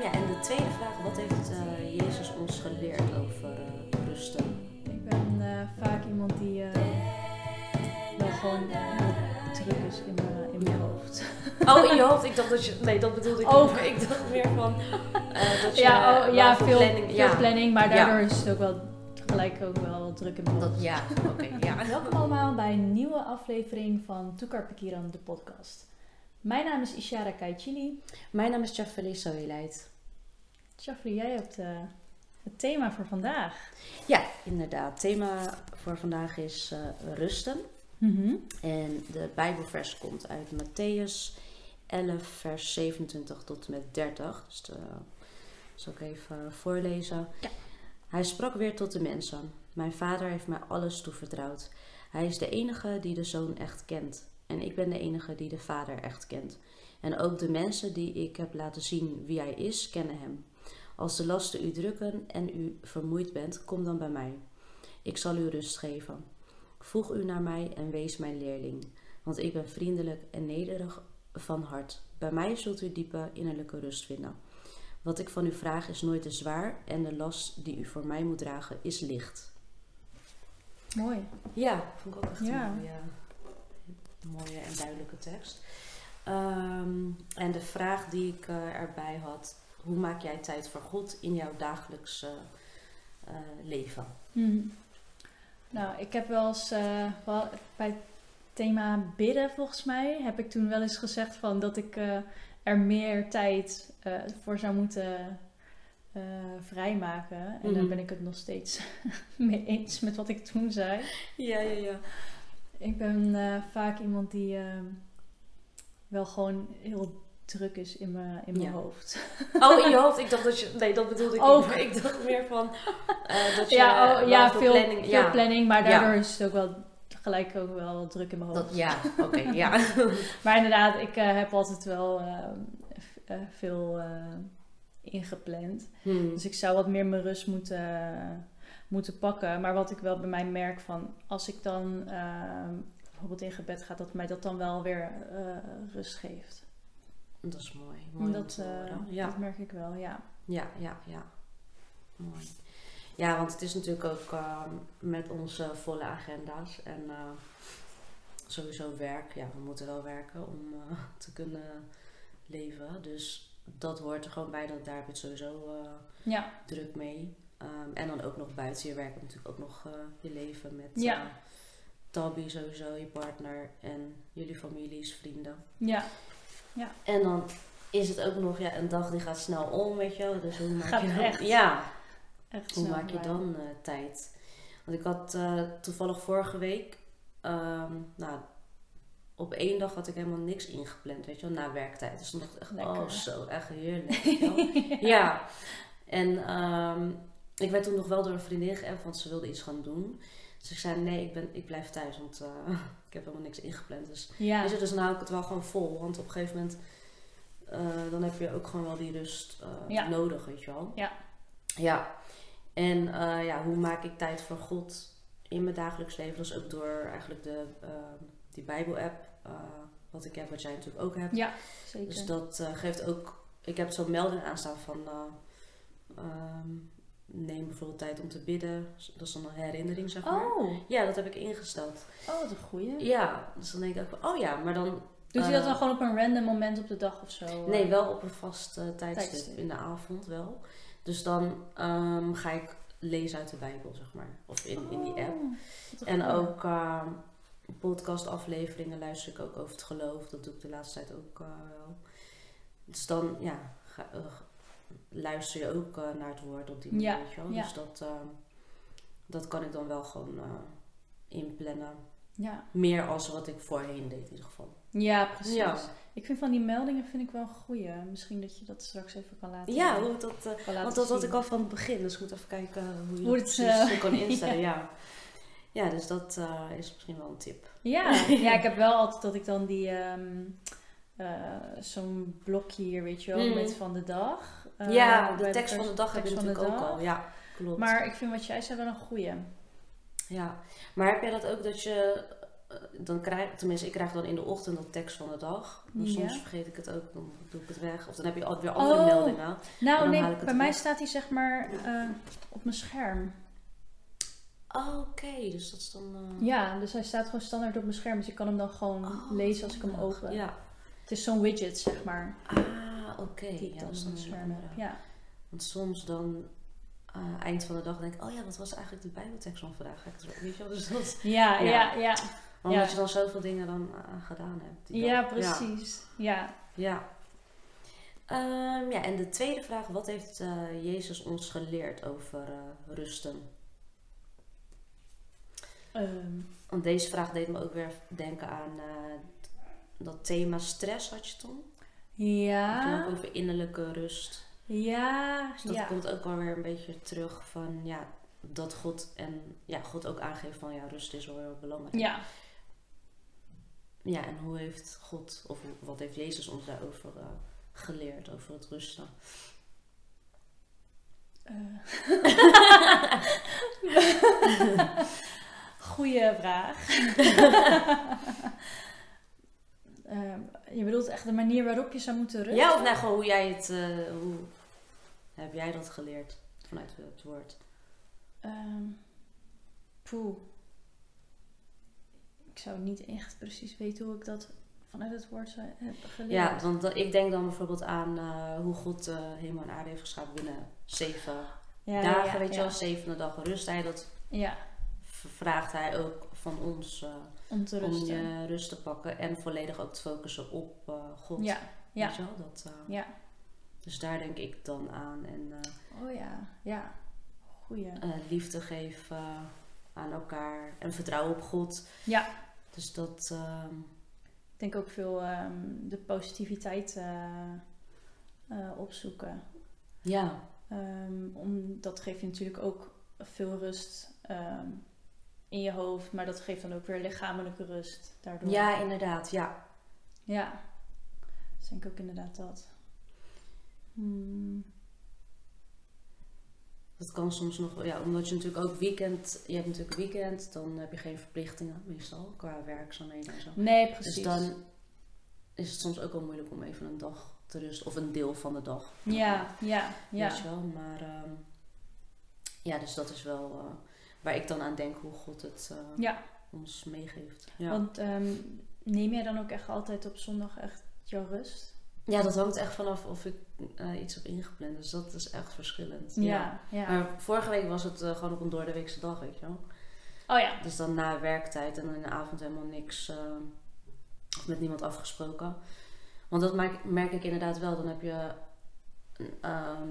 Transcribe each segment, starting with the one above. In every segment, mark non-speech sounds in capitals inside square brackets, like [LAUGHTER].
eh, [LAUGHS] eh, eh, Oh, in je hoofd. Ik dacht dat je... Nee, dat bedoelde ik Oh. niet. Ik dacht meer [LAUGHS] van... eh, dat je ja, oh, wel ja, voor veel, planning... veel ja. planning, maar Ja. daardoor is het ook wel gelijk ook wel druk in mijn hoofd. Dat, ja, oké. [LAUGHS] ja. Welkom allemaal bij een nieuwe aflevering van Toekar Pikiran, de podcast. Mijn naam is Ishara Kaichili. Mijn naam is Jafari Soylight. Shafri, jij hebt eh, het thema voor vandaag. Ja, inderdaad. Thema voor vandaag is eh, rusten. En de Bijbelvers komt uit Matthäus 11, vers 27 tot en met 30. Dus dat zal ik even voorlezen. Hij sprak weer tot de mensen. Mijn vader heeft mij alles toevertrouwd. Hij is de enige die de zoon echt kent. En ik ben de enige die de vader echt kent. En ook de mensen die ik heb laten zien wie hij is, kennen hem. Als de lasten u drukken en u vermoeid bent, kom dan bij mij. Ik zal u rust geven. Voeg u naar mij en wees mijn leerling, want ik ben vriendelijk en nederig van hart. Bij mij zult u diepe innerlijke rust vinden. Wat ik van u vraag is nooit te zwaar en de last die u voor mij moet dragen is licht. Mooi. Ja, vond ik ook echt Ja. een mooie, mooie en duidelijke tekst. Ehm, en de vraag die ik eh, erbij had, hoe maak jij tijd voor God in jouw dagelijkse eh, leven? Mhm. Nou, ik heb wel eens eh, wel- bij het thema bidden, volgens mij, heb ik toen wel eens gezegd van dat ik eh, er meer tijd eh, voor zou moeten eh, vrijmaken. En daar Mhm. ben ik het nog steeds [LAUGHS] mee eens met wat ik toen zei. Ja, ja, ja. Ik ben eh, vaak iemand die eh, wel gewoon heel druk is in mijn in mijn Ja. hoofd. Oh, in [LAUGHS] je hoofd. Ik dacht dat je... Nee, dat bedoelde ik Oh. niet. Ik dacht meer van... eh, dat je Ja, oh, wel ja, veel, planning... veel ja. planning, maar Ja. daardoor is het ook wel gelijk ook wel druk in mijn hoofd. Dat, ja, oké, ja. [LAUGHS] Maar inderdaad, ik eh, heb altijd wel eh, f- eh, veel eh, ingepland. Hmm. Dus ik zou wat meer mijn rust moeten, moeten pakken. Maar wat ik wel bij mij merk van als ik dan eh, bijvoorbeeld in gebed ga, dat mij dat dan wel weer eh, rust geeft. Dat is mooi. mooi om dat, te eh, horen. ja. dat merk ik wel, ja. ja, ja, ja. Mooi. Ja, want het is natuurlijk ook ehm, met onze volle agenda's en eh, sowieso werk. Ja, we moeten wel werken om eh, te kunnen leven. Dus dat hoort er gewoon bij. Dat, daar heb je het sowieso... eh, Ja, druk mee. Ehm, en dan ook nog buiten je werk natuurlijk ook nog eh, je leven met Ja. eh, Tabi sowieso, je partner en jullie families, vrienden. ja. En dan is het ook nog ja, een dag die gaat snel om, weet je wel. Dus hoe maak Gaat je dan, echt ja, Echt hoe snel maak je voorbij. [LAUGHS] dan eh, tijd? Want ik had eh, toevallig vorige week, ehm, nou, op één dag had ik helemaal niks ingepland, weet je wel, na werktijd. Dus dan dacht ik echt, Lekker, oh hè? zo, echt [LAUGHS] heerlijk. weet je wel. [LAUGHS] Ja. En ehm, ik werd toen nog wel door een vriendin geappt, want ze wilde iets gaan doen. Dus ik zei, nee, ik, ben, ik blijf thuis, want eh, [LAUGHS] ik heb helemaal niks ingepland. Dus, Ja, weet je, dus dan hou ik het wel gewoon vol. Want op een gegeven moment, eh, dan heb je ook gewoon wel die rust eh, Ja. nodig, weet je wel. Ja. Ja. En eh, ja, hoe maak ik tijd voor God in mijn dagelijks leven? Dat is ook door eigenlijk de, ehm, die Bijbel-app, eh, wat ik heb, wat jij natuurlijk ook hebt. ja zeker. Dus dat eh, geeft ook. Ik heb zo'n melding aanstaan van. eh, ehm, neem bijvoorbeeld tijd om te bidden. Dat is dan een herinnering, zeg maar. oh, Ja, dat heb ik ingesteld. oh, wat een goeie. Ja, dus dan denk ik ook, van, oh ja, maar dan. Doet hij dat Dus dan Eh, gewoon op een random moment op de dag of zo? eh. Nee, wel op een vast eh, tijdstip, Tijdstip. in de avond wel. Dus dan ehm, ga ik lezen uit de Bijbel, zeg maar. Of in, in die app. Oh, wat een En goeie. ook ehm podcastafleveringen luister ik ook over het geloof. Dat doe ik de laatste tijd ook eh, wel. Dus dan ja, ga, eh, luister je ook eh, naar het woord op die manier. Ja, weet je wel. ja. Dus dat, ehm, dat kan ik dan wel gewoon eh, inplannen. Ja, Meer als wat ik voorheen deed in ieder geval. ja precies. Ja. Ik vind van die meldingen vind ik wel een goeie. Misschien dat je dat straks even kan laten Ja, hoe ik dat, eh, kan laten want dat had zien. ik al van het begin. Dus ik moet even kijken hoe je Hoe dat het, precies eh, [LAUGHS] [LAUGHS] kan instellen. ja. Ja. dus dat eh, is misschien wel een tip. [LAUGHS] Ja, ja, ik heb wel altijd dat ik dan die... ehm, eh, Zo'n blokje hier, weet je wel, Mm. met van de dag. Eh, ja, de bij tekst van de dag heb je tekst van de natuurlijk ook dag. al. Ja, klopt. Maar ik vind wat jij zei wel een goeie. Nou, Ja, maar heb jij dat ook dat je eh, dan krijg, tenminste, ik krijg dan in de ochtend dat tekst van de dag. Maar Ja. soms vergeet ik het ook, dan doe ik het weg. Of dan heb je al- weer andere Oh. meldingen. Nou, dan nee, haal ik het bij mij weg. staat hij zeg maar eh, op mijn scherm. Oh, oké, dus dat is dan. eh, Ja, dus hij staat gewoon standaard op mijn scherm. Dus ik kan hem dan gewoon oh, lezen als ik hem handig. open. Ja, Het is zo'n widget, zeg maar. Ah, oké. Die Ja, dan dat is dan een eh, andere. ja. Want soms dan, eh, eind van de dag, denk ik... Oh ja, wat was eigenlijk die bijbeltekst van vandaag? Ga ik het zo- Weet je wel? Dus dat, Ja, Ja. ja, ja. maar omdat Ja. je dan zoveel dingen dan eh, gedaan hebt. die Ja, dag. precies. Ja. Ja. Ehm, ja, en de tweede vraag. Wat heeft eh, Jezus ons geleerd over eh, rusten? Ehm, Want deze vraag deed me ook weer denken aan eh, dat thema stress had je toen. Het ging ook ja. over innerlijke rust. Ja. Dus dat Ah. Ja. komt ook alweer een beetje terug van ja, dat God en ja, God ook aangeeft van ja, rust is wel heel belangrijk. Ja. Ja, en hoe heeft God, of hoe- wat heeft Jezus ons daarover eh, geleerd, over het rusten? Eh. [LAUGHS] Goeie [LAUGHS] vraag. Ehm, je bedoelt echt de manier waarop je zou moeten rusten? Ja, of nou gewoon hoe jij het, eh, hoe heb jij dat geleerd vanuit het woord? Ehm, poeh. Ik zou niet echt precies weten hoe ik dat vanuit het woord zou heb geleerd. Ja, want dat- ik denk dan bijvoorbeeld aan eh, hoe God eh, hemel en aarde heeft geschapen binnen zeven Ja, ja, dagen, ja, weet je ja. wel, zevende dag rust. Hij, dat Ja, v- vraagt hij ook van ons eh, om te om eh, rusten. je rust te pakken en volledig ook te focussen op eh, God. Ja, ja. Weet je wel, dat, eh, Ja. Dus daar denk ik dan aan en eh, Oh ja, ja. Goeie. eh, liefde geven aan elkaar en vertrouwen op God. Ja. Dus dat... ehm, Ik denk ook veel ehm, de positiviteit eh, eh, opzoeken. ja, Ehm, om, dat geeft je natuurlijk ook veel rust ehm, in je hoofd, maar dat geeft dan ook weer lichamelijke rust daardoor. Ja, inderdaad. Ja. Ja, dus denk ik ook inderdaad dat. Hmm, Dat kan soms nog, ja, omdat je natuurlijk ook weekend, je hebt natuurlijk weekend, dan heb je geen verplichtingen meestal qua werkzaamheden en zo. Nee, precies. Dus dan is het soms ook wel moeilijk om even een dag te rusten of een deel van de dag. Ja, ja, Weet ja. je wel, maar ehm, ja, dus dat is wel eh, waar ik dan aan denk hoe God het eh, Ja. ons meegeeft. Ja. Want ehm, neem jij dan ook echt altijd op zondag echt jouw rust? ja, dat hangt echt vanaf of ik eh, iets heb ingepland, dus dat is echt verschillend. Ja, ja. Maar vorige week was het eh, gewoon op een doordeweekse dag, weet je wel. Oh ja. Dus dan na werktijd en dan in de avond helemaal niks eh, of met niemand afgesproken. Want dat maak, merk ik inderdaad wel. Dan heb je ehm,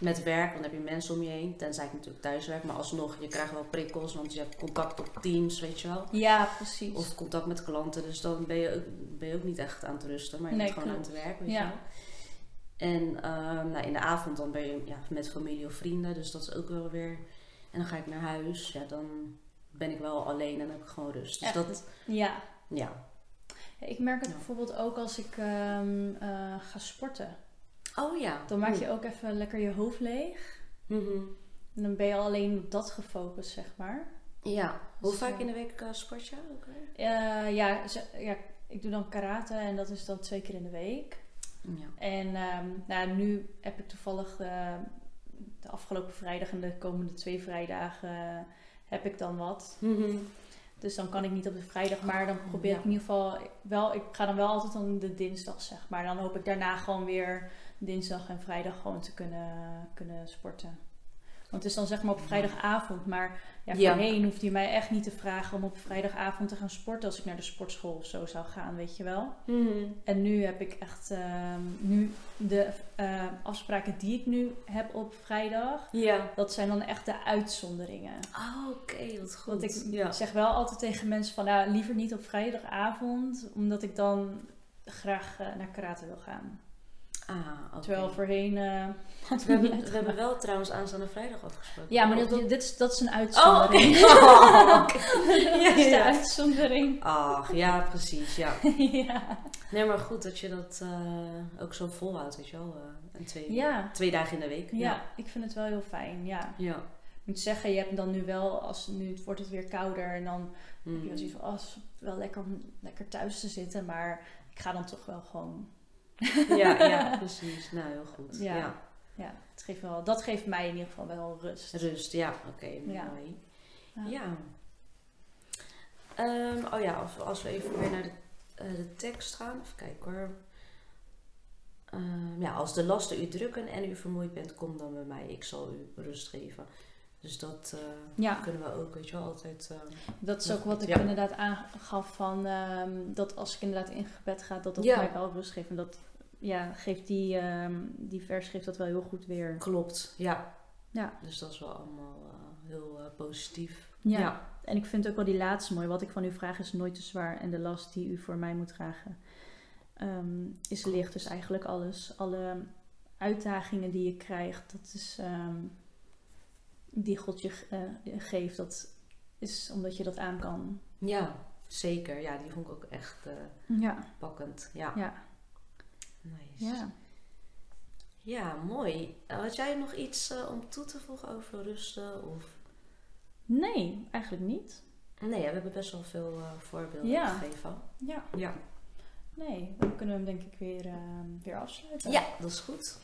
met werk, dan heb je mensen om je heen. Tenzij ik natuurlijk thuis werk, maar alsnog, je krijgt wel prikkels, want je hebt contact op teams, weet je wel. Ja, precies. Of contact met klanten, dus dan ben je ook, ben je ook niet echt aan het rusten, maar je Nee, bent gewoon klopt. aan het werk, weet Ja. je wel. En ehm, nou, in de avond dan ben je ja, met familie of vrienden, dus dat is ook wel weer... En dan ga ik naar huis, ja, dan ben ik wel alleen en dan heb ik gewoon rust. Dus Echt. dat, Ja. ja. Ja, Ik merk het Ja. bijvoorbeeld ook als ik ehm, eh, ga sporten. Oh ja. Dan maak je ook even lekker je hoofd leeg. Mhm. En dan ben je alleen op dat gefocust, zeg maar. Ja. Hoe Dus, vaak eh, in de week eh, sport je ook weer? Eh, ja, ze- ja, ik doe dan karate en dat is dan twee keer in de week. Ja. En ehm, nou, nu heb ik toevallig eh, de afgelopen vrijdag en de komende twee vrijdagen eh, heb ik dan wat. Mhm. Dus dan kan ik niet op de vrijdag, maar dan probeer Ja. ik in ieder geval wel. Ik ga dan wel altijd dan de dinsdag, zeg maar. Dan hoop ik daarna gewoon weer dinsdag en vrijdag gewoon te kunnen, kunnen sporten. Want het is dan zeg maar op vrijdagavond, maar ja, Ja. voorheen hoefde je mij echt niet te vragen om op vrijdagavond te gaan sporten als ik naar de sportschool of zo zou gaan, weet je wel. Mhm. En nu heb ik echt, ehm, nu de eh, afspraken die ik nu heb op vrijdag, Ja. dat zijn dan echt de uitzonderingen. Oh, oké, wat goed. Want ik ja. zeg wel altijd tegen mensen van, nou, liever niet op vrijdagavond, omdat ik dan graag eh, naar karate wil gaan. Ah, oké. Terwijl voorheen eh, [LAUGHS] had We ik hebben, we niet [LAUGHS] uitgemaakt. hebben wel trouwens aanstaande vrijdag afgesproken. Ja, maar Of dat, dat- dit is, dat is een Oh, oké. [LAUGHS] uitzondering. Oh, oké. dat is Ja, de ja. uitzondering. [LAUGHS] Ach, ja, precies, ja. ja. Nee, maar goed dat je dat eh, ook zo volhoudt, weet je wel. eh, en twee, Ja. twee dagen in de week. ja, ik vind het wel heel fijn, ja. Ja. Ik moet zeggen, je hebt dan nu wel, als nu het wordt het weer kouder en dan heb Mm. je wel zoiets van, oh, het is wel lekker om lekker thuis te zitten, maar ik ga dan toch wel gewoon, [LAUGHS] ja, ja, precies. Nou, heel goed. Ja. Ja. ja, het geeft wel, dat geeft mij in ieder geval wel rust. Rust, ja, oké, Ja. mooi. Ja. Ja. Ehm, oh ja, als, als we even weer naar de eh, de tekst gaan. Even kijken hoor. Ehm, ja, als de lasten u drukken en u vermoeid bent, kom dan bij mij. Ik zal u rust geven. Dus dat eh, Ja, kunnen we ook, weet je wel, altijd. eh, dat is ook wat ik Ja. inderdaad aangaf van ehm, dat als ik inderdaad in gebed ga, dat dat Ja. mij wel rust geeft. En dat ja, geeft die, ehm, die vers geeft dat wel heel goed weer. klopt, ja. Ja. Dus dat is wel allemaal eh, heel eh, positief. Ja. En ik vind ook wel die laatste mooi. Wat ik van u vraag is nooit te zwaar. En de last die u voor mij moet dragen ehm, is licht. Dus eigenlijk alles. Alle uitdagingen die je krijgt. Dat is ehm, die God je eh, geeft. Dat is omdat je dat aan kan. Ja, zeker. Ja, die vond ik ook echt eh, Ja. pakkend. Ja. Ja. Nice. ja. Ja, mooi. Had jij nog iets eh, om toe te voegen over rusten? Of... Nee, eigenlijk niet. Nee, hè, we hebben best wel veel eh, voorbeelden Ja. gegeven. Ja. Ja. Nee, dan kunnen we hem denk ik weer, ehm, weer afsluiten. Ja, dat is goed.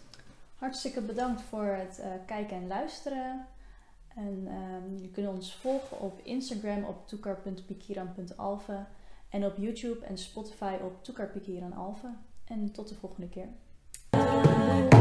Hartstikke bedankt voor het eh, kijken en luisteren. En ehm je kunt ons volgen op Instagram op toekar.pikiran.alve en op YouTube en Spotify op toekarpikiranalve. En tot de volgende keer.